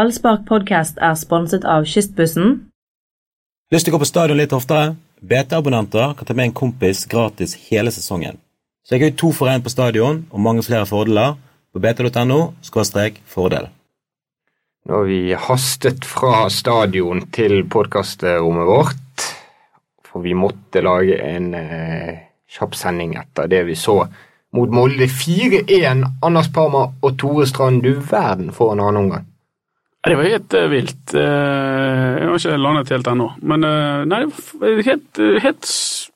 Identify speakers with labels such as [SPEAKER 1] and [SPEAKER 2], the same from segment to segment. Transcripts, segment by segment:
[SPEAKER 1] Ballspark podcast er sponset av Kystbussen.
[SPEAKER 2] Lyst til å gå på stadion litt oftere? BT-abonnenter kan ta med en kompis gratis hele sesongen. Så jeg har jo to for én på stadion og mange flere fordeler på bt.no fordel.
[SPEAKER 3] Nå har vi hastet fra stadion til podkastrommet vårt. For vi måtte lage en eh, kjapp sending etter det vi så mot Molde 4-1. Anders Parma og Tore Strand, du verden for en annen omgang.
[SPEAKER 4] Ja, Det var helt eh, vilt. Eh, Jeg har ikke landet helt ennå. Men eh, nei, det var f- helt, eh, helt s-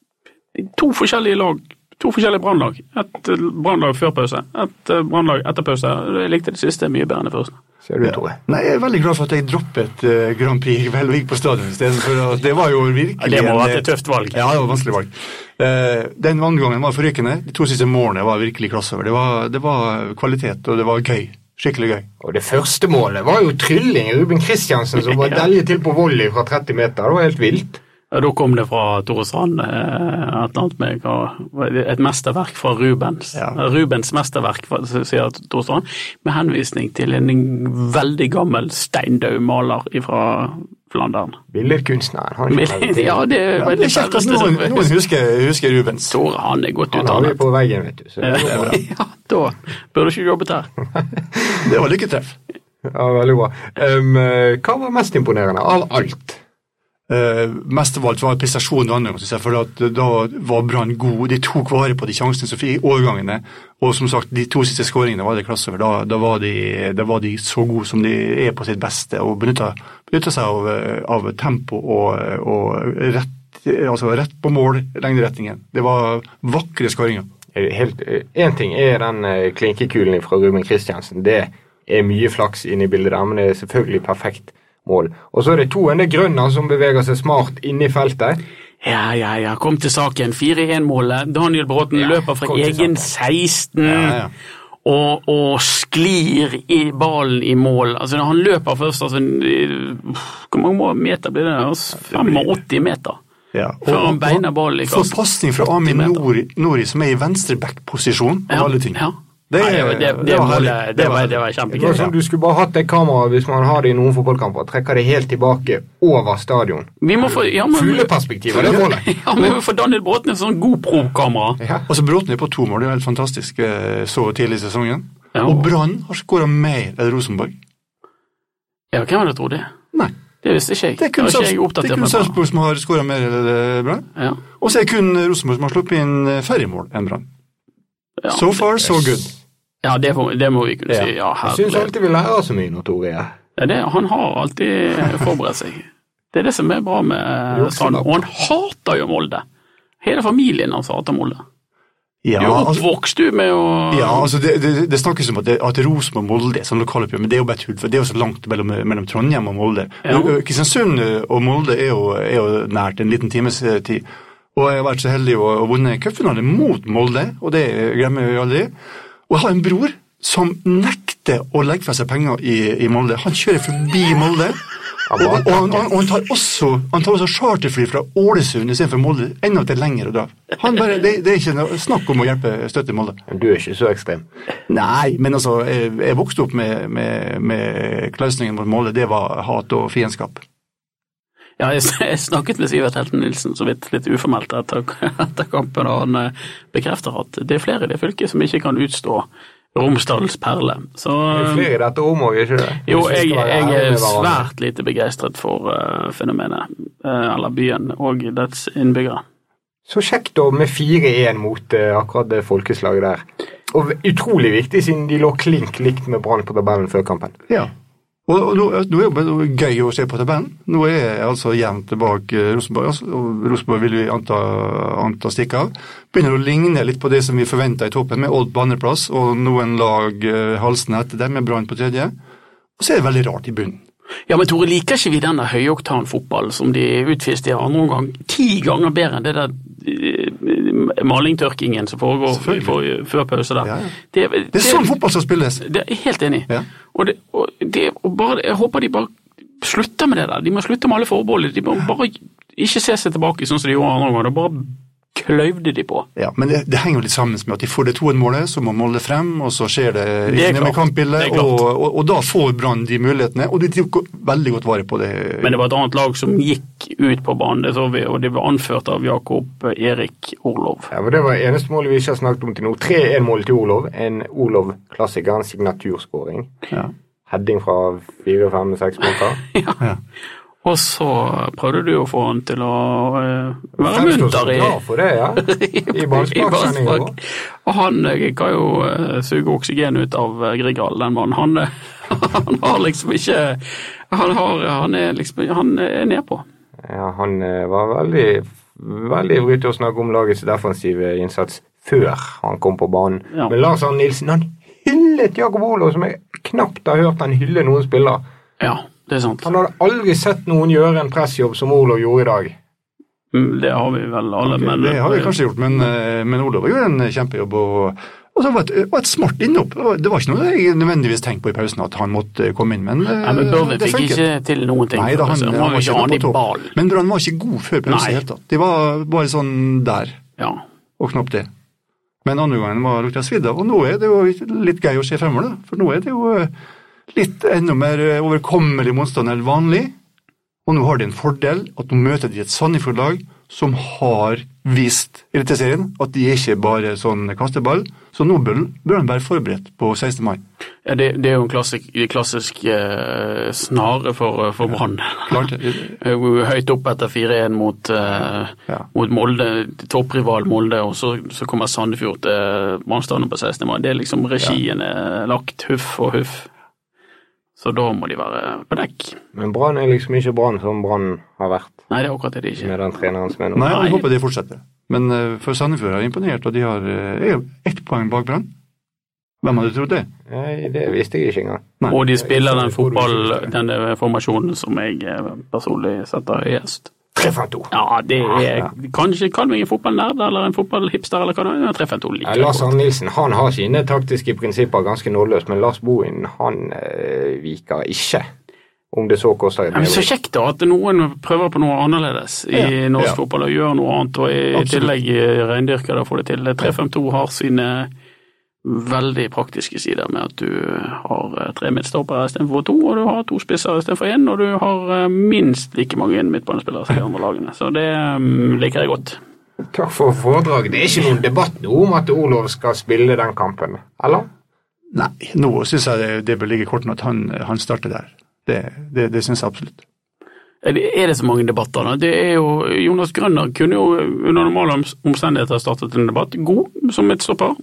[SPEAKER 4] To forskjellige lag. To forskjellige brannlag. Et eh, brannlag før pause, et eh, brannlag etter pause. Jeg likte det siste mye bedre enn det første.
[SPEAKER 3] Ser du, Tore?
[SPEAKER 5] Nei, Jeg er veldig glad for at jeg droppet eh, Grand Prix i kveld og gikk på stadion i stedet. For at det var jo virkelig
[SPEAKER 4] Ja, det må ha
[SPEAKER 5] en-
[SPEAKER 4] vært et tøft valg.
[SPEAKER 5] Ja, det var et vanskelig valg. Eh, den andre gangen var forrykende. De to siste målene var virkelig klasse over. Det var, det var kvalitet, og det var gøy. Skikkelig gøy.
[SPEAKER 3] Og det første målet var jo trylling. Ruben Kristiansen som var deljet til på volley fra 30 meter. Det var helt vilt.
[SPEAKER 4] Ja, Da kom det fra Tore Strand eh, et eller annet med hva- et mesterverk fra Rubens.
[SPEAKER 5] Ja.
[SPEAKER 4] Rubens mesterverk, hva- sier Tore Strand, med henvisning til en veldig gammel steindød maler fra Flandern.
[SPEAKER 3] Billedkunstneren. Han,
[SPEAKER 4] Men,
[SPEAKER 3] er ikke
[SPEAKER 4] ja, det,
[SPEAKER 5] Ja, det er kjekt at noen, noen husker, husker Rubens.
[SPEAKER 4] Tore, han er godt
[SPEAKER 3] han har vi
[SPEAKER 4] utdannet.
[SPEAKER 3] på veggen, vet du. Så det går bra.
[SPEAKER 4] Ja, da burde du ikke jobbet her.
[SPEAKER 5] Det var lykketreff.
[SPEAKER 3] Ja, veldig bra. Em, eh, hva var mest imponerende av alt?
[SPEAKER 5] Eh, mest av alt var prestasjonen det andre, synes jeg, for at da var Brann god. De tok vare på de sjansene som fikk i overgangene, og som sagt, de to siste skåringene var det klasse over. Da, da, var de, da var de så gode som de er på sitt beste, og benytta, benytta seg av, eh, av tempo og, og rett, altså rett på mål, lengderetningen. Det var vakre skåringer.
[SPEAKER 3] Eh, helt, eh, en ting er den eh, klinkekulen fra Ruben Kristiansen. Det er mye flaks inne i bildet der, men det er selvfølgelig perfekt mål. Og så er det to en del grønner som beveger seg smart inne i feltet.
[SPEAKER 4] Ja, ja, ja, kom til saken. 4-1-målet. Daniel Bråten
[SPEAKER 3] Ja,
[SPEAKER 4] løper fra
[SPEAKER 3] kom til
[SPEAKER 4] egen
[SPEAKER 3] saken.
[SPEAKER 4] 16
[SPEAKER 5] Ja, ja.
[SPEAKER 4] Og, og sklir i ballen i mål. Altså, når han løper først altså, eh, Hvor mange må- meter blir det? Altså, 85 meter.
[SPEAKER 5] Ja.
[SPEAKER 4] Før han beina ballen i kassen.
[SPEAKER 5] Forpasning fra Amin
[SPEAKER 4] 80 meter.
[SPEAKER 5] Nori, Nori, som er i venstre back-posisjon, av
[SPEAKER 4] Ja,
[SPEAKER 5] alle ting.
[SPEAKER 4] ja.
[SPEAKER 5] Det,
[SPEAKER 4] Nei, det var- det- det
[SPEAKER 5] var
[SPEAKER 4] målet-
[SPEAKER 5] herlig.
[SPEAKER 4] det var- det var
[SPEAKER 3] Det
[SPEAKER 4] kjempegøy.
[SPEAKER 3] var sånn som Du skulle bare hatt et kamera hvis man har det i noen fotballkamper. Trekker det helt tilbake over stadion.
[SPEAKER 4] Vi må få ja, men,
[SPEAKER 3] Fugleperspektiv er det målet.
[SPEAKER 4] ja, men vi må få Daniel Bråten et sånn god prokamera.
[SPEAKER 3] Ja.
[SPEAKER 5] Altså Bråten er på to mål, det er helt fantastisk eh, så tidlig i sesongen.
[SPEAKER 4] Ja.
[SPEAKER 5] Og Brann har skåra mer enn Rosenborg.
[SPEAKER 4] Ja, hvem hadde trodd det?
[SPEAKER 5] Nei,
[SPEAKER 4] Det visste ikke jeg.
[SPEAKER 5] det er kun,
[SPEAKER 4] Det var ikke jeg
[SPEAKER 5] Sarps- det
[SPEAKER 4] oppdatert
[SPEAKER 5] er kun
[SPEAKER 4] med.
[SPEAKER 5] Sarpsborg som har skåra mer enn eh, Brann.
[SPEAKER 4] Ja.
[SPEAKER 5] Og så er det kun Rosenborg som har sluppet inn eh, færre mål enn Brann.
[SPEAKER 4] Ja.
[SPEAKER 5] so far, so good.
[SPEAKER 4] Ja, det, får- det må vi kunne si. Ja,
[SPEAKER 3] Jeg syns
[SPEAKER 4] herlig.
[SPEAKER 3] alltid vi lærer så mye nå, Tore. Ja.
[SPEAKER 4] Ja, det, han har alltid forberedt seg. Det er det som er bra med eh, Strand. Og han hater jo Molde. Hele familien hans hater Molde.
[SPEAKER 5] Ja,
[SPEAKER 4] Du er
[SPEAKER 5] altså,
[SPEAKER 4] oppvokst du med å
[SPEAKER 5] ja, altså det, det, det snakkes om at, det- at Rosenborg og Molde er sånn lokaloppgjør, men det er jo bare tull, for det er jo så langt mellom, mellom Trondheim og Molde.
[SPEAKER 4] Ja.
[SPEAKER 5] Ø- ø, Kristiansund ø, og Molde er jo, er jo nært, en liten times eh, tid. Og jeg har vært så heldig å å vunne cupfinale mot Molde, og det glemmer vi aldri. Og jeg har en bror som nekter å legge fra seg penger i, i Molde. Han kjører forbi Molde. Og, og, han, og han tar også, han tar også charterfly fra Ålesund istedenfor Molde. Enda til lenger å dra. Han bare, det, det er ikke noe snakk om å hjelpe støtte Molde.
[SPEAKER 3] Men Du er ikke så ekstrem.
[SPEAKER 5] Nei, men altså, jeg, jeg vokste opp med, med, med klausningen mot Molde. Det var hat og fiendskap.
[SPEAKER 4] Ja, jeg, s- jeg snakket med Sivert Helten Nilsen så vidt litt uformelt etter, etter kampen, og han eh, bekrefter at det er flere i det fylket som ikke kan utstå Romsdalens perle. Så eh,
[SPEAKER 3] Det er flere i dette rommet, er ikke det?
[SPEAKER 4] Um, Jo,
[SPEAKER 3] Hvis vi
[SPEAKER 4] jeg,
[SPEAKER 3] skal være
[SPEAKER 4] jeg
[SPEAKER 3] ærlige
[SPEAKER 4] er
[SPEAKER 3] med hverandre.
[SPEAKER 4] svært lite begeistret for eh, fenomenet, eh, eller byen og dets innbyggere.
[SPEAKER 3] Så kjekt da med 4-1 mot eh, akkurat det folkeslaget der. Og v- utrolig viktig, siden de lå klink likt med Brann på tabellen før kampen.
[SPEAKER 5] Ja. Og, og nå, nå er det jo bare gøy å se på tabellen. Nå er jeg altså jevnt bak eh, Rosenborg, altså, og Rosenborg vil vi anta, anta stikke av. Begynner å ligne litt på det som vi forventa i toppen, med Odd på andreplass og noen lag eh, halsende etter dem, med Brann på tredje. Og så er det veldig rart i bunnen.
[SPEAKER 4] Ja, men Tore, liker ikke vi denne høyoktanfotballen som de utviste i andre omgang? Ti ganger bedre enn det der eh, malingtørkingen som foregår
[SPEAKER 5] Selvfølgelig.
[SPEAKER 4] for- før pause der.
[SPEAKER 5] Ja, ja.
[SPEAKER 4] Det,
[SPEAKER 5] Det er sånn fotball skal spilles!
[SPEAKER 4] det er jeg helt enig. i.
[SPEAKER 5] Ja.
[SPEAKER 4] Og, det, og, det, og bare, jeg håper de bare slutter med det der. De må slutte med alle forbeholdene. De må bare ikke se seg tilbake sånn som de gjorde andre omgang. og Bare kløyvde de på.
[SPEAKER 5] Ja, men det, det henger jo litt sammen med at de får det 2-1-målet, så må Molde frem, og så skjer det
[SPEAKER 4] Det er
[SPEAKER 5] ned med
[SPEAKER 4] klart.
[SPEAKER 5] kampbildet,
[SPEAKER 4] Det er
[SPEAKER 5] og,
[SPEAKER 4] klart.
[SPEAKER 5] og, og da får Brann de mulighetene, og de tok veldig godt vare på det.
[SPEAKER 4] Men det var et annet lag som gikk ut på banen, det så vi, og det ble anført av Jakob Erik Orlov.
[SPEAKER 3] Ja, men Det var eneste målet vi ikke har snakket om til nå. 3-1-målet til Olov. En Olov-klassiker, en signaturskåring.
[SPEAKER 5] Ja.
[SPEAKER 3] Heading fra fire-fem-seks meter.
[SPEAKER 4] Og så prøvde du å få han til å eh, være
[SPEAKER 3] Fremstår som
[SPEAKER 4] munter i
[SPEAKER 3] klar for det, ja. I
[SPEAKER 4] i
[SPEAKER 3] ballsparksendinga
[SPEAKER 4] ballspark. Og han eh, kan jo eh, suge oksygen ut av eh, Grieghallen, den mannen. Han, eh, han har liksom ikke Han, har, han er liksom Han er nedpå.
[SPEAKER 3] Ja, han eh, var veldig veldig ivrig til å snakke om lagets defensive innsats før han kom på banen.
[SPEAKER 4] Ja.
[SPEAKER 3] Men Lars Arne Nilsen han hyllet Jakob Olov, som jeg knapt har hørt han hylle noen spiller.
[SPEAKER 4] Ja, det er sant.
[SPEAKER 3] Han hadde aldri sett noen gjøre en pressjobb som Olov gjorde i dag.
[SPEAKER 4] Mm, Det har vi vel alle, men
[SPEAKER 5] det har vi kanskje gjort, men, eh, men Olav gjorde en kjempejobb. Og, og det var et, var et smart innhopp. Det var- Det var ikke noe jeg nødvendigvis tenkte på i pausen at han måtte komme inn, men, eh,
[SPEAKER 4] Nei, men Børven fikk ikke til noen ting.
[SPEAKER 5] Nei, da, han,
[SPEAKER 4] altså.
[SPEAKER 5] han,
[SPEAKER 4] må
[SPEAKER 5] var
[SPEAKER 4] jo
[SPEAKER 5] ikke
[SPEAKER 4] ikke ha han
[SPEAKER 5] på
[SPEAKER 4] i
[SPEAKER 5] topp.
[SPEAKER 4] ballen.
[SPEAKER 5] Men Brann var ikke god før pause i
[SPEAKER 4] Nei.
[SPEAKER 5] det hele tatt. De var bare sånn der.
[SPEAKER 4] Ja.
[SPEAKER 5] og knapt det. Men andre gangen var lukta svidd av, og nå er det jo litt gøy å se fremover, da. For nå er det jo eh, litt enda mer eh, overkommelig motstand enn vanlig. Og nå har de en fordel at nå møter de et Sandefjord-lag som har vist i Eliteserien at de er ikke bare sånn kasteball. Så nå bør, bør de være forberedt på 16. mai.
[SPEAKER 4] Ja, Det, det er jo en klassisk, klassisk eh, snare for, for Brann. Eh,
[SPEAKER 5] Klart.
[SPEAKER 4] Høyt opp etter 4-1 mot, eh,
[SPEAKER 5] Ja.
[SPEAKER 4] mot Molde, topprival Molde, og så, så kommer Sandefjord til Brannstadion på 16. mai. Det er liksom regien er lagt huff og huff. Så da må de være på dekk.
[SPEAKER 3] Men Brann er liksom ikke Brann som Brann har vært
[SPEAKER 4] Nei, det er akkurat det de ikke er.
[SPEAKER 3] med den treneren som er nå.
[SPEAKER 5] Nei,
[SPEAKER 4] Nei.
[SPEAKER 5] jeg håper det fortsetter. Men eh, for Sandefjord har imponert, og de har eh, er jo ett poeng bak Brann. Hvem hadde trodd det?
[SPEAKER 3] Nei, det visste jeg ikke engang.
[SPEAKER 5] Nei.
[SPEAKER 4] Og de spiller den
[SPEAKER 3] Jeg får det ikke
[SPEAKER 4] fotball,
[SPEAKER 3] til.
[SPEAKER 4] denne formasjonen som jeg eh, personlig setter høyest.
[SPEAKER 3] 3-5-2.
[SPEAKER 4] Ja, det er kanskje kan være en fotballnerd eller en fotballhipster eller hva det er. Treff en to
[SPEAKER 3] Ja,
[SPEAKER 4] like
[SPEAKER 3] Lars
[SPEAKER 4] godt.
[SPEAKER 3] Arne Nilsen han har sine taktiske prinsipper ganske nådeløst, men Lars Bohin han eh, viker ikke. Om det så koster et
[SPEAKER 4] Ja, men Så
[SPEAKER 3] nedrykk.
[SPEAKER 4] kjekt da at noen prøver på noe annerledes i
[SPEAKER 5] Ja,
[SPEAKER 4] norsk
[SPEAKER 5] ja.
[SPEAKER 4] fotball og gjør noe annet, og i
[SPEAKER 5] Absolutt.
[SPEAKER 4] tillegg eh, reindyrker det og får det til. 3-5-2 har sine veldig praktiske sider med at du har eh, tre midtstoppere istedenfor to, og du har to spisser istedenfor én, og du har eh, minst like mange midtbanespillere som de andre lagene. Så det mm, liker jeg godt.
[SPEAKER 3] Takk for foredraget. Det er ikke noen debatt nå om at Olov skal spille den kampen, eller?
[SPEAKER 5] Nei, nå syns jeg det, det bør ligge i kortene at han, han starter der. Det, det, det syns jeg absolutt.
[SPEAKER 4] Er det- er det så mange debatter da? Det er jo, Jonas Grønner kunne jo under normale oms- omstendigheter startet en debatt, god som et stopper.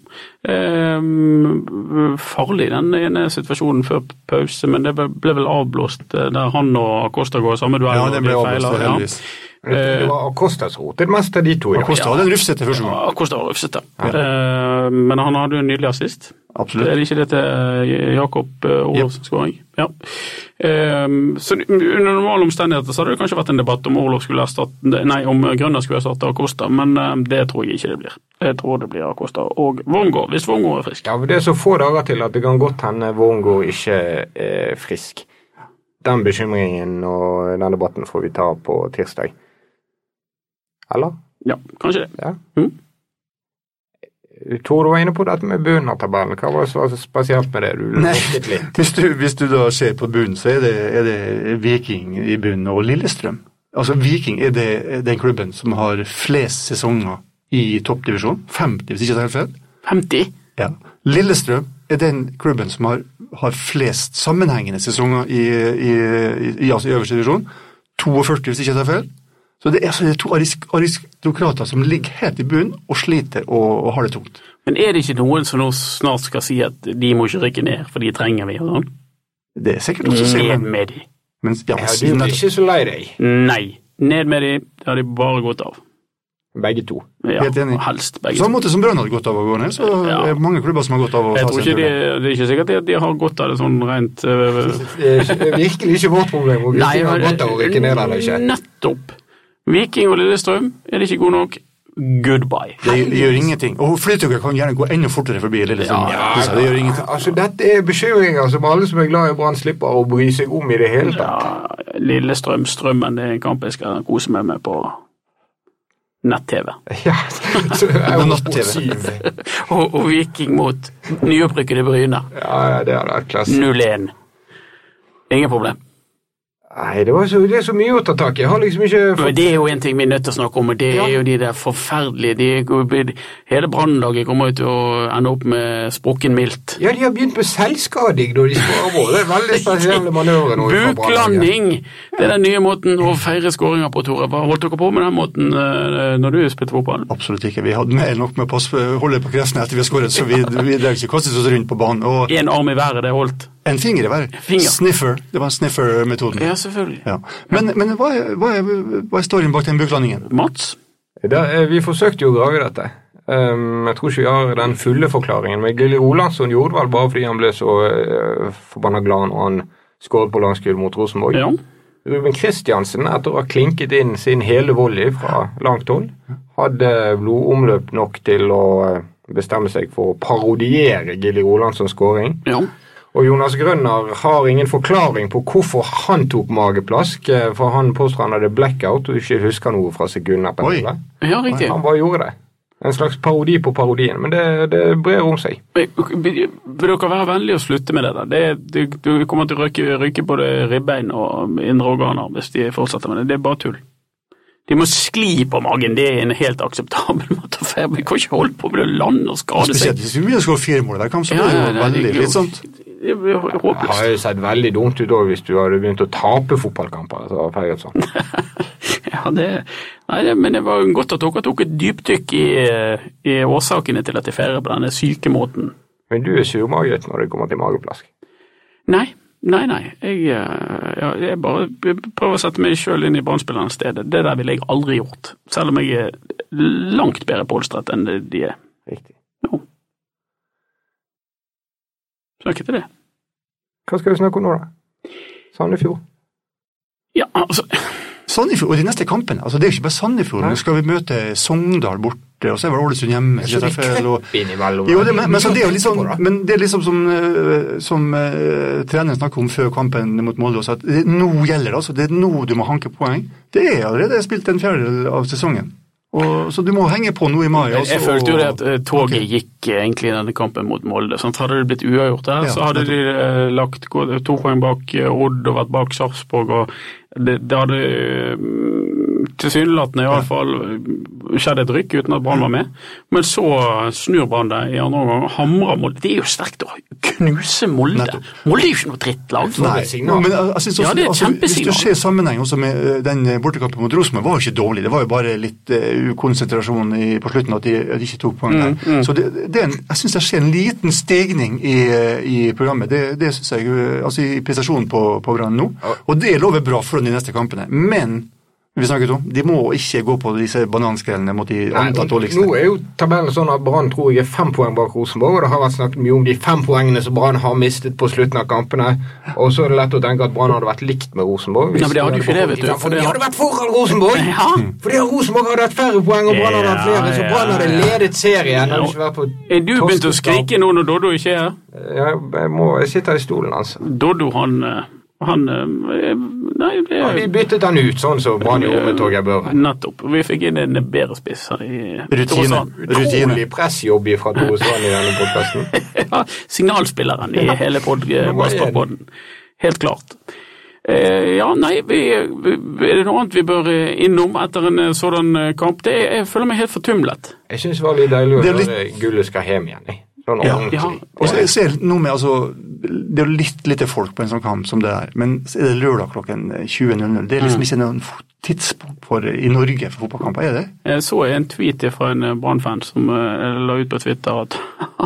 [SPEAKER 4] Ehm, farlig den ene situasjonen før pause, men det ble ble vel avblåst eh, der han og Acosta går samme duell.
[SPEAKER 5] Ja,
[SPEAKER 4] og
[SPEAKER 5] det
[SPEAKER 4] de
[SPEAKER 5] ble
[SPEAKER 4] feiler,
[SPEAKER 5] avblåst,
[SPEAKER 4] ja.
[SPEAKER 5] heldigvis.
[SPEAKER 3] Det var Acosta som rotet mest av de to. i dag.
[SPEAKER 5] Kosta hadde en rufsete første gang.
[SPEAKER 4] Acosta var rufsete, Ehm, men han hadde jo en nydelig assist. Det er
[SPEAKER 5] Absolutt.
[SPEAKER 4] det ikke det til Jakob eh, Olofsens skåring? Ja. Ehm, så under normale omstendigheter så hadde det kanskje vært en debatt om Olof skulle erstatte Nei, om Grønner skulle erstatte Acosta, men eh, det tror jeg ikke det blir. Jeg tror det blir Acosta og Wormgård, hvis Wormgård er frisk.
[SPEAKER 3] Ja, for Det er så få dager til at det kan godt hende Wormgård ikke er frisk. Den bekymringen og den debatten får vi ta på tirsdag. Eller?
[SPEAKER 4] Ja, kanskje det.
[SPEAKER 3] Ja.
[SPEAKER 4] Mhm.
[SPEAKER 3] Tor, du var inne på dette med Bøhner-tabellen. Hva var det som var så spesielt med det? Du
[SPEAKER 5] Nei.
[SPEAKER 3] lukket litt.
[SPEAKER 5] Hvis du, hvis du da ser på bunnen, så er det, er det Viking i bunnen og Lillestrøm. Altså Viking er det, er den klubben som har flest sesonger i toppdivisjon. 50, hvis ikke jeg tar helt feil.
[SPEAKER 4] 50?
[SPEAKER 5] Ja. Lillestrøm er den klubben som har, har flest sammenhengende sesonger i, i, i, i, altså i øverste divisjon. 42, hvis ikke jeg tar feil. Så det er, altså, det er to arisk- aristokrater som ligger helt i bunnen og sliter og, og har det tungt.
[SPEAKER 4] Men er det ikke noen som nå snart skal si at de må ikke rykke ned, for de trenger vi og sånn?
[SPEAKER 5] Det er sikkert også selv,
[SPEAKER 4] Ned
[SPEAKER 5] men,
[SPEAKER 4] med de.
[SPEAKER 5] men ja,
[SPEAKER 3] Ja, du
[SPEAKER 5] siden
[SPEAKER 3] blir
[SPEAKER 5] at,
[SPEAKER 3] ikke så lei deg,
[SPEAKER 4] Nei. Ned med de. Det har de bare gått av.
[SPEAKER 3] begge to.
[SPEAKER 4] Ja,
[SPEAKER 5] Helt enig.
[SPEAKER 4] Helst begge.
[SPEAKER 5] samme måte som Brann hadde gått av å gå ned, så
[SPEAKER 4] Ja.
[SPEAKER 5] er det mange klubber som har gått av å
[SPEAKER 4] Jeg
[SPEAKER 5] ta
[SPEAKER 4] tror
[SPEAKER 5] seg
[SPEAKER 4] ikke
[SPEAKER 5] en
[SPEAKER 4] de,
[SPEAKER 5] tur.
[SPEAKER 4] Det er ikke sikkert at de har godt av det sånn rent eh,
[SPEAKER 3] Det er ikke- det er virkelig ikke vårt problem om Viking har
[SPEAKER 4] men-
[SPEAKER 3] godt av å rykke ned eller ikke.
[SPEAKER 4] Nettopp. Viking og Lillestrøm er det ikke gode nok. Goodbye.
[SPEAKER 5] Det gjør ingenting. Og flytuga kan gjerne gå enda fortere forbi Lillestrøm.
[SPEAKER 4] Ja,
[SPEAKER 5] synes jeg. det gjør ingenting.
[SPEAKER 3] Altså, Dette er bekymringer som alle som er glad i Brann, slipper å bry seg om i det hele tatt.
[SPEAKER 4] Ja, Lillestrøm Strømmen det er en kamp jeg skal kose meg med på nett-TV.
[SPEAKER 3] Ja, så er hun
[SPEAKER 5] Natt-TV.
[SPEAKER 3] på syv.
[SPEAKER 4] Og, og Viking mot nyopprykkede Bryne.
[SPEAKER 3] Ja, ja, det hadde vært klasse.
[SPEAKER 4] 0-1. Ingen problem.
[SPEAKER 3] Nei, det, var så, det er så mye å ta tak i. Jeg har liksom ikke fått
[SPEAKER 4] Men det er jo en ting vi er nødt til å snakke om, og det er jo de der forferdelige de, Hele brannlaget kommer jo til å ende opp med sprukken mildt.
[SPEAKER 3] Ja, de har begynt med selvskading når de skårer mål. Det er veldig spesielle manøvrer. nå fra Brann-laget.
[SPEAKER 4] Buklanding! Det er den nye måten å feire skåringer på, Tore. Hva holdt dere på med den måten eh, når du spilte fotball?
[SPEAKER 5] Absolutt ikke. Vi hadde mer enn nok med å passe- holde på krefsene etter vi har skåret, så vi, vi drev ikke kastet oss rundt på banen. Og
[SPEAKER 4] Én arm i været, det holdt.
[SPEAKER 5] en finger i hver.
[SPEAKER 4] Finger.
[SPEAKER 5] Sniffer. Det var sniffer-metoden.
[SPEAKER 4] Ja, selvfølgelig.
[SPEAKER 5] Ja. Men, men hva, er, hva, er, hva er storyen bak den buklandingen?
[SPEAKER 4] Mats?
[SPEAKER 3] Da, eh, vi forsøkte jo å grave dette. Ehm, jeg tror ikke vi har den fulle forklaringen, men Gilly Olansson gjorde det vel bare fordi han ble så uh, forbanna glad når han skåret på landskudd mot Rosenborg.
[SPEAKER 4] Ja.
[SPEAKER 3] Ruben Kristiansen, etter å ha klinket inn sin hele volley fra langt hold, hadde blodomløp nok til å eh, bestemme seg for å parodiere Gilly Olandsons skåring.
[SPEAKER 4] ja.
[SPEAKER 3] Og Jonas Grønner har ingen forklaring på hvorfor han tok mageplask, eh, for han påstår han hadde blackout og ikke husker noe fra sekunder etter.
[SPEAKER 5] Oi.
[SPEAKER 3] det.
[SPEAKER 4] Ja, riktig.
[SPEAKER 3] Han bare gjorde det. En slags parodi på parodien, men det, det brer om seg.
[SPEAKER 4] Men, Vil vil dere være vennlige å slutte med det? da? Det, du, du kommer til å ryke, ryke både ribbein og indre organer hvis de fortsetter med det. Det er bare tull. De må skli på magen, det er en helt akseptabel måte å feire Vi kan ikke holde på med å lande og skade
[SPEAKER 5] Spesielt
[SPEAKER 4] seg.
[SPEAKER 5] hvis vi begynner å skåre fire mål der, så blir det jo veldig slitsomt.
[SPEAKER 4] Det blir hå-
[SPEAKER 3] Det har
[SPEAKER 4] håpløst.
[SPEAKER 3] jo sett veldig dumt ut også hvis du hadde begynt å tape fotballkamper. Altså, Ferguson.
[SPEAKER 4] Ja, det, nei, det, men det var jo godt at dere tok et dypdykk i, eh, i årsakene til at de feirer på denne syke måten.
[SPEAKER 3] Men du er surmaget når det kommer til mageplask.
[SPEAKER 4] Nei, nei, nei. Jeg, eh, ja, jeg bare p- prøver å sette meg sjøl inn i brannspillernes sted. Det der ville jeg aldri gjort, selv om jeg er langt bedre polstret enn det de er.
[SPEAKER 3] Riktig.
[SPEAKER 4] Jo. Snakke til det.
[SPEAKER 3] Hva skal vi snakke om nå, da? Sandefjord.
[SPEAKER 4] Ja, altså,
[SPEAKER 5] Sandefjord, og de neste kampene, altså det er jo ikke bare Sandefjord, nå skal vi møte Sogndal borte, og så er vel Ålesund hjemme. så det er feil, og...
[SPEAKER 3] innimellom.
[SPEAKER 5] Jo, det, men, men, så det er jo liksom, men det er liksom som, eh, som eh, treneren snakker om før kampen mot Molde også, at det, nå gjelder det, altså. Det er nå du må hanke poeng. Det er allerede spilt en fjerdedel av sesongen, og, så du må henge på nå i mai.
[SPEAKER 4] jeg,
[SPEAKER 5] altså,
[SPEAKER 4] jeg følte jo
[SPEAKER 5] og-
[SPEAKER 4] det at eh, toget gikk eh, egentlig i denne kampen mot Molde. Sant? Hadde det blitt uavgjort her,
[SPEAKER 5] Ja,
[SPEAKER 4] så hadde de eh, lagt gå- to poeng bak eh, Odd og vært bak Sarpsborg. og Det, det hadde eh, tilsynelatende iallfall skjedd et rykk uten at Brann var med. Men så snur Brann det i andre omgang og hamrer Molde. Det er jo sterkt å knuse Molde.
[SPEAKER 5] Nettopp.
[SPEAKER 4] Molde er jo ikke noe drittlag.
[SPEAKER 5] Nei,
[SPEAKER 3] et signal.
[SPEAKER 5] men jeg- jeg synes
[SPEAKER 4] Ja, det
[SPEAKER 5] også,
[SPEAKER 4] er et
[SPEAKER 5] altså, Hvis du
[SPEAKER 4] kjempesignal.
[SPEAKER 5] ser sammenheng også med eh, den eh, bortekampen mot Rosenborg, var jo ikke dårlig. Det var jo bare litt eh, ukonsentrasjon i, på slutten at de, at de ikke tok poeng der.
[SPEAKER 4] Mm,
[SPEAKER 5] Så det, det er en, jeg syns det skjer en liten stegning i, eh, i programmet. Det, det synes jeg, eh, altså i prestasjonen på, på Brann nå. Og det lover bra for de neste kampene. Men vi snakket om, de må ikke gå på disse bananskallene mot de antatt
[SPEAKER 3] Nå
[SPEAKER 5] dårligste.
[SPEAKER 3] er jo tabellen sånn at Brann tror jeg er fem poeng bak Rosenborg, og det har vært snakket mye om de fem poengene som Brann har mistet på slutten av kampene. Og så er det lett å tenke at Brann hadde vært likt med Rosenborg. hvis
[SPEAKER 4] Ja, men det hadde jo ikke det, vet du, for
[SPEAKER 3] For
[SPEAKER 4] det
[SPEAKER 3] de
[SPEAKER 4] har-
[SPEAKER 3] hadde vært foran Rosenborg!
[SPEAKER 4] Ja.
[SPEAKER 3] Fordi Rosenborg hadde hatt færre poeng, og Brann hadde hatt flere, så
[SPEAKER 4] Ja,
[SPEAKER 3] Brann hadde
[SPEAKER 4] ja, ja.
[SPEAKER 3] ledet serien. Hadde ikke vært på
[SPEAKER 4] Er du begynt å
[SPEAKER 3] torskekamp.
[SPEAKER 4] skrike nå når Doddo ikke er her?
[SPEAKER 3] Ja, jeg, må, jeg sitter i stolen, altså.
[SPEAKER 4] Doddo, han eh, Han eh, Nei, det
[SPEAKER 3] Ja,
[SPEAKER 4] er
[SPEAKER 3] vi byttet den ut, sånn som Brann gjorde med Torgeir Børre.
[SPEAKER 4] Nettopp. Vi fikk inn en bedre spiss her i
[SPEAKER 5] Rutine.
[SPEAKER 4] Torsand.
[SPEAKER 5] Rutine.
[SPEAKER 3] Utrolig pressjobb fra Tore Strand i denne podkasten.
[SPEAKER 4] Ja, signalspilleren i hele
[SPEAKER 3] hva er det?
[SPEAKER 4] podden. Helt klart. Eh, ja, nei, vi, vi, er det noe annet vi bør eh, innom etter en eh, sådan eh, kamp? Det, jeg føler meg helt fortumlet.
[SPEAKER 3] Jeg syns det var litt deilig å
[SPEAKER 5] Det er
[SPEAKER 3] høre gullet skal hjem igjen. jeg. Sånn
[SPEAKER 5] Ja.
[SPEAKER 3] ordentlig.
[SPEAKER 4] Ja.
[SPEAKER 5] Og så jeg ser noe med, altså, Det er jo litt lite folk på en sånn kamp som det der, men så er det lørdag klokken 20.00. Det er liksom
[SPEAKER 4] Mm.
[SPEAKER 5] ikke noen f- tidspunkt for, i Norge for fotballkamper, er det?
[SPEAKER 4] Jeg Eh, så en tweet fra en eh, Brann-fan som eh, la ut på Twitter at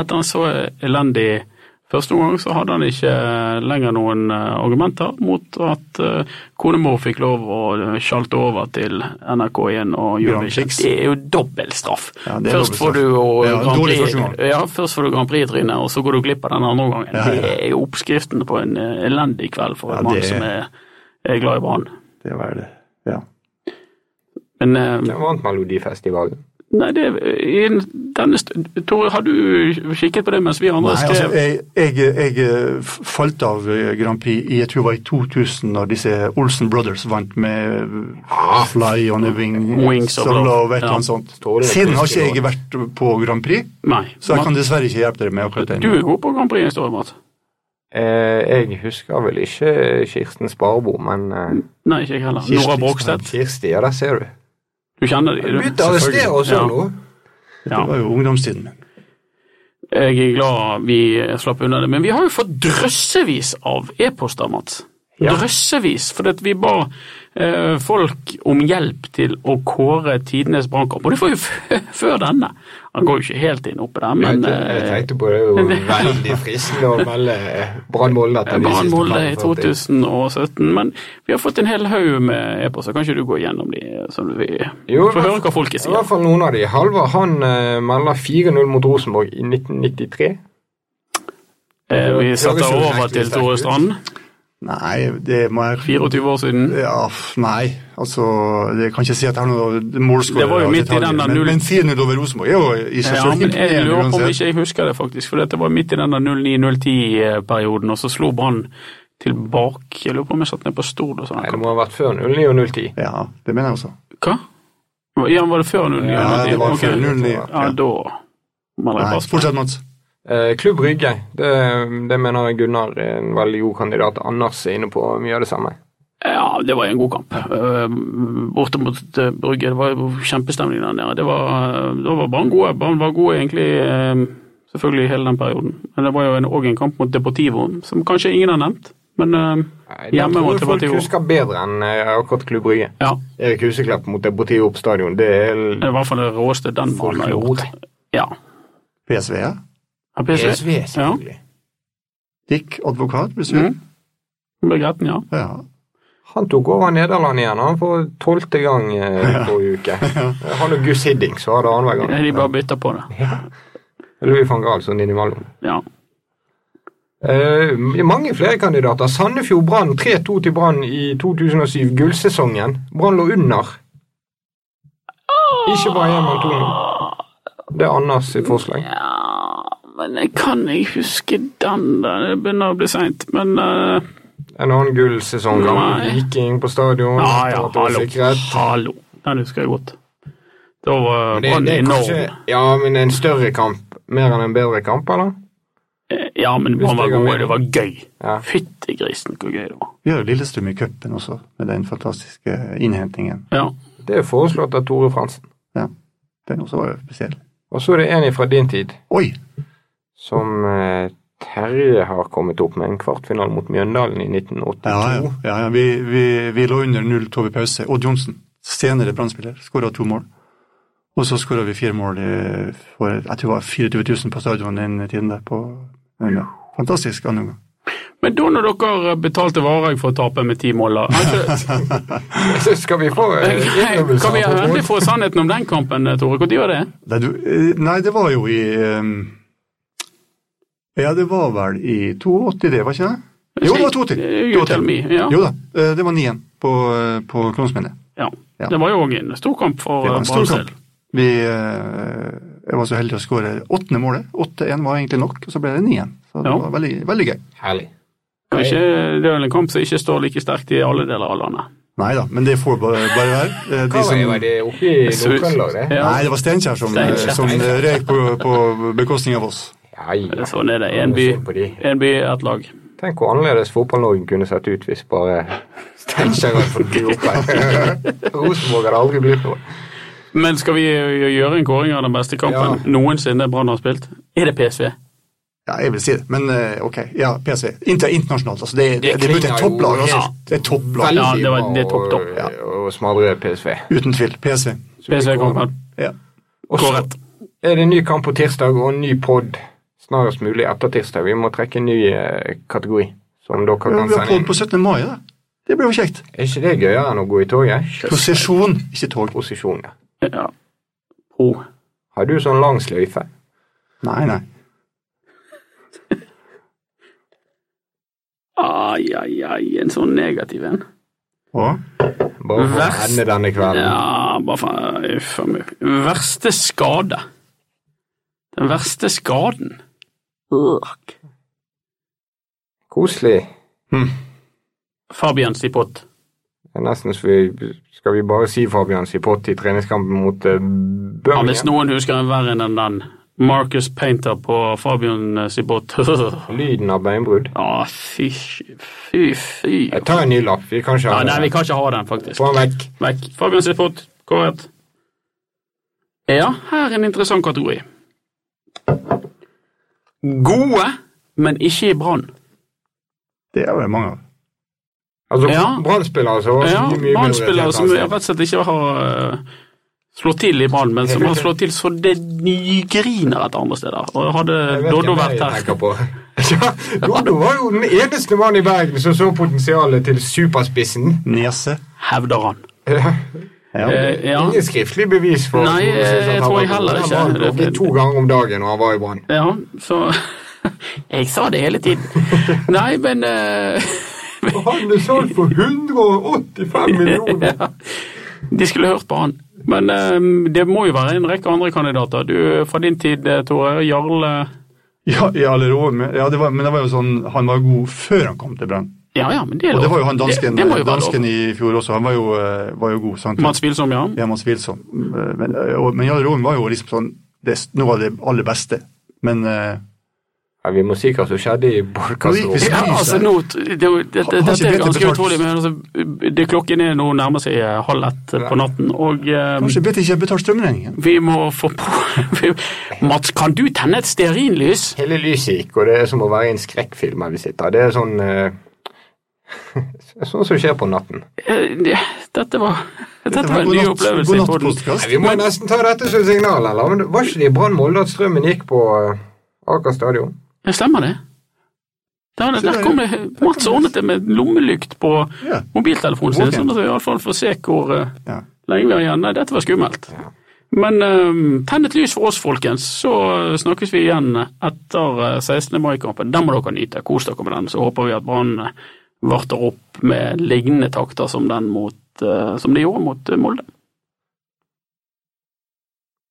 [SPEAKER 4] etter han så eh, elendig første omgang, så hadde han ikke eh, lenger noen eh, argumenter mot at eh, konemor fikk lov å eh, sjalte over til NRK1 og Eurovision.
[SPEAKER 5] Prix.
[SPEAKER 4] Det er jo dobbel straff.
[SPEAKER 5] Ja, det er
[SPEAKER 4] først,
[SPEAKER 5] dobbel
[SPEAKER 4] får du,
[SPEAKER 5] straff.
[SPEAKER 4] jo
[SPEAKER 5] Ja,
[SPEAKER 4] Grand
[SPEAKER 5] dårlig
[SPEAKER 4] Prix,
[SPEAKER 5] første omgang.
[SPEAKER 4] ja, først får du Grand Prix-trynet, og så går du glipp av den andre omgangen.
[SPEAKER 5] Ja, ja.
[SPEAKER 4] Det er jo oppskriften på en eh, elendig kveld for
[SPEAKER 5] Ja,
[SPEAKER 4] en mann
[SPEAKER 5] det er-
[SPEAKER 4] som er, er glad i Brann.
[SPEAKER 5] Det var det. Ja.
[SPEAKER 4] Men eh,
[SPEAKER 3] Den vant Melodifestivalen.
[SPEAKER 4] Nei, det i denne st- Tore, har du kikket på det mens vi andre
[SPEAKER 5] Nei, altså,
[SPEAKER 4] skrev?
[SPEAKER 5] jeg, jeg, jeg eh, f- falt av eh, Grand Prix i jeg tror det var i 2000, når disse Olsen Brothers vant med eh, Fly on a Wing,
[SPEAKER 4] Ah. Wings of
[SPEAKER 5] Solo,
[SPEAKER 4] Love,
[SPEAKER 5] vet du
[SPEAKER 4] ja.
[SPEAKER 5] noe sånt.
[SPEAKER 3] Tore, det
[SPEAKER 5] Siden har
[SPEAKER 3] husker
[SPEAKER 5] ikke jeg vært på Grand Prix,
[SPEAKER 4] Nei.
[SPEAKER 5] så jeg
[SPEAKER 4] Mart-
[SPEAKER 5] kan dessverre ikke hjelpe dere med akkurat
[SPEAKER 4] Du
[SPEAKER 5] den.
[SPEAKER 4] er god på Grand Prix, står det, Mart.
[SPEAKER 3] Eh, jeg husker vel ikke Kirsten Sparbo, men eh,
[SPEAKER 4] Nei, ikke jeg heller.
[SPEAKER 5] Kirsti
[SPEAKER 4] Nora Brogstedt.
[SPEAKER 3] Kirsti, ja, der ser du.
[SPEAKER 4] Du kjenner de,
[SPEAKER 3] Du
[SPEAKER 4] du.
[SPEAKER 3] begynte å arrestere oss
[SPEAKER 4] Ja.
[SPEAKER 3] jo nå.
[SPEAKER 5] Det var jo ungdomstiden min.
[SPEAKER 4] Jeg er glad vi slapp unna det, men vi har jo fått drøssevis av e-poster, Mats.
[SPEAKER 3] Ja.
[SPEAKER 4] Drøssevis, for vi ba eh, folk om hjelp til å kåre tidenes brannkamp, og det var jo f før denne. Han går jo ikke helt inn oppe der, men
[SPEAKER 3] jeg
[SPEAKER 4] eh,
[SPEAKER 3] tenkte på det, det er jo veldig fristende å melde eh, Brann Molde etter de
[SPEAKER 4] Brann
[SPEAKER 3] siste
[SPEAKER 4] Molde i
[SPEAKER 3] 45.
[SPEAKER 4] 2017, men vi har fått en hel haug med e-poster. Kan ikke du gå gjennom de, sånn at vi
[SPEAKER 3] Jo,
[SPEAKER 4] får høre hva
[SPEAKER 3] I
[SPEAKER 4] folket
[SPEAKER 3] hvert
[SPEAKER 4] sier?
[SPEAKER 3] fall noen av de. Halvard han eh, melder 4-0 mot Rosenborg i 1993.
[SPEAKER 4] Eh, vi
[SPEAKER 3] det høres
[SPEAKER 4] setter
[SPEAKER 3] jo
[SPEAKER 4] over
[SPEAKER 3] fryktelig
[SPEAKER 4] til
[SPEAKER 3] sterkt
[SPEAKER 4] Tore
[SPEAKER 3] ut.
[SPEAKER 4] Strand,
[SPEAKER 5] Nei, det må jeg
[SPEAKER 4] 24 år siden.
[SPEAKER 5] ja, f- Nei, altså Jeg kan ikke si at jeg har noe målskårer.
[SPEAKER 4] Det var jo
[SPEAKER 5] og
[SPEAKER 4] midt i
[SPEAKER 5] detaljer,
[SPEAKER 4] den der
[SPEAKER 5] men-
[SPEAKER 4] null-
[SPEAKER 5] Men 4-0 over Rosenborg er jo i seg
[SPEAKER 4] Ja,
[SPEAKER 5] selv
[SPEAKER 4] men jeg
[SPEAKER 5] imponerende
[SPEAKER 4] lurer på om
[SPEAKER 5] uansett.
[SPEAKER 4] ikke jeg husker det, faktisk. For dette var midt i den 09-010-perioden, og så slo Brann tilbake. Jeg lurer på om jeg satt ned på stol og sånn.
[SPEAKER 3] Nei, det må ha vært før 09 og 010.
[SPEAKER 5] Ja, det mener jeg også.
[SPEAKER 4] Hva? Ja, var det før 09?
[SPEAKER 5] Ja, det var
[SPEAKER 4] Ok.
[SPEAKER 5] 4-0.
[SPEAKER 4] Ja,
[SPEAKER 5] Ja.
[SPEAKER 4] da må jeg
[SPEAKER 5] Nei,
[SPEAKER 4] passe på.
[SPEAKER 5] Fortsett, Mats.
[SPEAKER 3] Eh, Klubb Rygge, det, det mener jeg Gunnar er en veldig god kandidat. Anders er inne på mye av det samme.
[SPEAKER 4] Ja, det var en god kamp. Eh, Borte mot eh, Brygge, det var jo kjempestemning der nede. Det var, eh, da var Brann gode. Brann var gode egentlig eh, selvfølgelig hele den perioden. Men det var jo òg en kamp mot Deportivo, som kanskje ingen har nevnt. Men eh,
[SPEAKER 3] Nei,
[SPEAKER 4] Hjemme
[SPEAKER 3] tror
[SPEAKER 4] mot
[SPEAKER 3] jeg folk
[SPEAKER 4] Deportivo.
[SPEAKER 3] husker bedre enn eh, akkurat Klubb Rygge.
[SPEAKER 4] ja,
[SPEAKER 3] Erik Huseklepp mot Deportivo på stadion, det er
[SPEAKER 4] det er i hvert fall det råeste den mannen har gjort.
[SPEAKER 3] folklore.
[SPEAKER 4] Ja.
[SPEAKER 5] PSV, ja.
[SPEAKER 4] Ja, PSV.
[SPEAKER 3] PSV, selvfølgelig.
[SPEAKER 5] Dick advokat, hvis du
[SPEAKER 4] Mm. Ble gretten, ja.
[SPEAKER 5] Ja.
[SPEAKER 3] Han tok over Nederland igjen han for tolvte gang eh,
[SPEAKER 5] Ja.
[SPEAKER 3] forrige uke. Eh, Han og Gus Hiddink så hadde annenhver gang.
[SPEAKER 4] De bare bytter på det.
[SPEAKER 3] Louis van Gaal sånn innimellom.
[SPEAKER 4] Ja.
[SPEAKER 3] Eh, mange flere kandidater. Sandefjord Brann 3-2 til Brann i 2007, gullsesongen. Brann lå under. Ikke bare hjemme 2-0. Det er Anders sitt forslag.
[SPEAKER 4] ja Men jeg kan ikke huske den der. Det begynner å bli seint. Men eh,
[SPEAKER 3] En annen gullsesong.
[SPEAKER 4] Nei.
[SPEAKER 3] Viking på stadion.
[SPEAKER 4] ja, ja,
[SPEAKER 3] at det var
[SPEAKER 4] hallo.
[SPEAKER 3] sikret.
[SPEAKER 4] hallo. Den husker jeg godt. Da var
[SPEAKER 3] Men det-
[SPEAKER 4] Brann
[SPEAKER 3] det er
[SPEAKER 4] enorm.
[SPEAKER 3] kanskje- Ja, men en større kamp. Mer enn en bedre kamp, eller?
[SPEAKER 4] Eh, Ja, men Brann var
[SPEAKER 3] Hvis det går
[SPEAKER 4] gode.
[SPEAKER 3] inn.
[SPEAKER 4] Det var gøy.
[SPEAKER 3] Ja.
[SPEAKER 4] Fytti grisen, hvor gøy det var.
[SPEAKER 5] Vi har jo Lillestrøm i cupen også, med den fantastiske innhentingen.
[SPEAKER 4] Ja.
[SPEAKER 3] Det er foreslått av Tore Fransen.
[SPEAKER 5] Ja, Den også var jo spesiell.
[SPEAKER 3] Og så er det en fra din tid
[SPEAKER 5] Oi!
[SPEAKER 3] som eh, Terje har kommet opp med en kvartfinale mot Mjøndalen i 1982.
[SPEAKER 5] Ja, ja. ja, ja. Vi, vi, vi lå under 0-2 ved pause. Odd Johnsen, senere brannspiller, skåra to mål. Og så skåra vi fire mål eh, for jeg tror det var 24 000 på stadion den tiden der. På, ja. Fantastisk annen gang.
[SPEAKER 4] Men da når dere eh, betalte Varhaug for å tape med ti mål, da altså,
[SPEAKER 3] Så skal vi få eh, innrømmelser
[SPEAKER 4] Kan vi
[SPEAKER 3] på
[SPEAKER 4] endelig
[SPEAKER 3] bordet?
[SPEAKER 4] få sannheten om den kampen, eh, Tore? Når var det?
[SPEAKER 5] Nei, du, eh, nei, det var jo i eh, Ja, det var vel i 82, det, var ikke det? Jo, det var 82.
[SPEAKER 4] You tell me. Ja.
[SPEAKER 5] Jo da, eh, det var 9-1 på, eh, på Klonsminnet.
[SPEAKER 4] Ja.
[SPEAKER 5] Ja.
[SPEAKER 4] Det var jo òg en stor kamp for eh,
[SPEAKER 5] Det var en stor
[SPEAKER 4] Brannsel.
[SPEAKER 5] kamp. Vi, eh, jeg var så heldig å skåre åttende målet. 8-1 var egentlig nok, og så ble det 9-1. Så det
[SPEAKER 4] Ja.
[SPEAKER 5] var veldig, veldig gøy.
[SPEAKER 3] Herlig.
[SPEAKER 4] Kanskje det er vel en kamp som ikke står like sterkt i alle deler av landet.
[SPEAKER 5] Nei da, men det får bare bare være. Eh,
[SPEAKER 3] Hva
[SPEAKER 5] De som,
[SPEAKER 3] var det oppe i Nord-Trøndelag, det?
[SPEAKER 4] Ja.
[SPEAKER 5] nei, det var Steinkjer som, eh,
[SPEAKER 4] Steinkjer.
[SPEAKER 5] som eh, røyk på, på bekostning av oss.
[SPEAKER 3] Ja, ja.
[SPEAKER 4] Sånn er det. En by,
[SPEAKER 3] Sånn på de.
[SPEAKER 4] en by ett lag.
[SPEAKER 3] Tenk hvor annerledes fotball-Norge kunne sett ut hvis bare Steinkjer hadde fått bli oppe. Rosenborg hadde aldri blitt noe.
[SPEAKER 4] Men skal vi øh, gjøre en kåring av den beste kampen noensinne Brann har spilt? Er det PSV?
[SPEAKER 5] Ja, jeg vil si det, men eh, ok. Ja, PSV. Inter internasjonalt, altså. Det, det, det,
[SPEAKER 3] klinger
[SPEAKER 5] det er
[SPEAKER 3] jo
[SPEAKER 5] topplag. Altså.
[SPEAKER 3] helt
[SPEAKER 5] Det er topplag,
[SPEAKER 4] Ja, det var- det er topp, topp.
[SPEAKER 3] Og, og smadre PSV.
[SPEAKER 5] uten tvil. PSV.
[SPEAKER 4] PSV-kampen.
[SPEAKER 5] Ja.
[SPEAKER 3] Og så
[SPEAKER 4] Korrekt.
[SPEAKER 3] er det en ny kamp på tirsdag og en ny pod snarest mulig etter tirsdag. Vi må trekke en ny eh, kategori som dere
[SPEAKER 5] Vi
[SPEAKER 3] kan
[SPEAKER 5] har
[SPEAKER 3] sende
[SPEAKER 5] podd på
[SPEAKER 3] inn.
[SPEAKER 5] 17. mai, da. Det blir jo kjekt.
[SPEAKER 3] Er ikke det gøyere enn å gå i toget?
[SPEAKER 5] Prosesjon, ikke tog.
[SPEAKER 3] Posisjon, ja.
[SPEAKER 4] Ja. Pro.
[SPEAKER 3] Har du sånn lang sløyfe?
[SPEAKER 5] Nei, nei.
[SPEAKER 4] Ai, ai, ai, en sånn negativ en.
[SPEAKER 5] Og?
[SPEAKER 3] Bare for å
[SPEAKER 4] Verst.
[SPEAKER 3] ende denne kvelden.
[SPEAKER 4] Ja, Ja, bare faen uff a meg. Verste skade. Den verste skaden. Ugh.
[SPEAKER 3] Koselig.
[SPEAKER 4] Fabian Stipott.
[SPEAKER 3] Det er nesten så vi Skal vi bare si Fabian Sipott i treningskampen mot eh,
[SPEAKER 4] Ja, hvis
[SPEAKER 3] Birmingham?
[SPEAKER 4] noen husker en verre enn den. Marcus Painter på Fabian Stipott.
[SPEAKER 3] Lyden av beinbrudd.
[SPEAKER 4] Ja, fy, fy, fy.
[SPEAKER 3] Jeg tar en ny lapp. Vi kan ikke
[SPEAKER 4] Ja,
[SPEAKER 3] ha
[SPEAKER 4] nei, vi
[SPEAKER 3] den.
[SPEAKER 4] kan ikke ha den, faktisk.
[SPEAKER 3] Få den vekk.
[SPEAKER 4] Vekk. Fabian Sipot, korrekt. Ja, her er en interessant kategori. Gode, men ikke i brann.
[SPEAKER 5] Det er vel mange av.
[SPEAKER 3] Altså,
[SPEAKER 4] Ja.
[SPEAKER 3] Brann-spillere som var
[SPEAKER 4] Ja,
[SPEAKER 3] mye, mye bedre til
[SPEAKER 4] Brann-spillere som
[SPEAKER 3] Hansen.
[SPEAKER 4] rett og slett ikke har eh, slått til i Brann, men som har slått til så det nygriner et andre steder. Og hadde
[SPEAKER 3] Jeg vet
[SPEAKER 4] Doddo
[SPEAKER 3] hvem jeg
[SPEAKER 4] vært her
[SPEAKER 3] tenker på. Ja, Doddo var jo den eneste mannen i Bergen som så potensialet til superspissen.
[SPEAKER 5] Nese.
[SPEAKER 4] hevder han.
[SPEAKER 3] Ja.
[SPEAKER 4] Eh, ja.
[SPEAKER 3] Ingen skriftlig bevis for
[SPEAKER 4] Nei,
[SPEAKER 3] for å synes
[SPEAKER 4] jeg
[SPEAKER 3] at han
[SPEAKER 4] tror
[SPEAKER 3] var
[SPEAKER 4] jeg
[SPEAKER 3] god.
[SPEAKER 4] heller ikke.
[SPEAKER 3] Han var oppe to ganger om dagen når han var i Brann.
[SPEAKER 4] ja, så Jeg sa det hele tiden. Nei, men eh,
[SPEAKER 3] Og han er solgt for 185 millioner!
[SPEAKER 4] De skulle hørt på han. Men eh, det må jo være en rekke andre kandidater. Du, Fra din tid, eh, Tore. Jarle
[SPEAKER 5] Ja, i alle år, men, ja det var, men det var jo sånn, han var god før han kom til Brann.
[SPEAKER 4] Ja, ja, men det er
[SPEAKER 5] Og
[SPEAKER 4] lov.
[SPEAKER 5] det var jo han dansken,
[SPEAKER 4] det, det må jo være
[SPEAKER 5] dansken
[SPEAKER 4] lov.
[SPEAKER 5] i fjor også. Han var jo, eh, var jo god. sant?
[SPEAKER 4] Mats Wilsom, ja.
[SPEAKER 5] Ja, Mats Wilson. Eh, Men, eh, og- men Jarle Roven var jo liksom sånn det, er Noe av det aller beste. Men eh,
[SPEAKER 3] Ja, vi må si hva som skjedde i podkastrommet.
[SPEAKER 5] Nå gikk
[SPEAKER 4] Ja, altså nå, det, det, det,
[SPEAKER 5] Har- har ikke
[SPEAKER 4] Dette er
[SPEAKER 5] Peter
[SPEAKER 4] ganske
[SPEAKER 5] betalt?
[SPEAKER 4] utrolig, men altså, det, klokken er nå nærmer seg eh, halv ett eh, på natten, og eh,
[SPEAKER 5] kanskje burde ikke jeg betalt strømregningen.
[SPEAKER 4] vi må få på vi, Mats, kan du tenne et stearinlys?
[SPEAKER 3] Hele lyset gikk, og det er som å være i en skrekkfilm her vi sitter. Det er sånn eh, Sånn som skjer på natten.
[SPEAKER 4] Eh, det- Dette var, dette var en ny opplevelse. i podden.
[SPEAKER 3] Nei, vi må nesten ta dette som signal, eller? Men var ikke det i Brann Molde at strømmen gikk på eh, Aker stadion?
[SPEAKER 4] Ja, stemmer det. Der, der,
[SPEAKER 5] der,
[SPEAKER 4] kom det, Mats ordnet det med lommelykt på
[SPEAKER 5] Ja.
[SPEAKER 4] mobiltelefonen sin,
[SPEAKER 5] Ok.
[SPEAKER 4] sånn at vi iallfall får se hvor eh,
[SPEAKER 5] Ja.
[SPEAKER 4] lenge vi har igjen. Nei, dette var skummelt. Men eh, tenn et lys for oss, folkens, så eh, snakkes vi igjen etter eh, 16. mai-kampen. Den må dere nyte. Kos dere med den. Så håper vi at Brann eh, varter opp med lignende takter som den mot, eh, som de gjorde mot eh, Molde.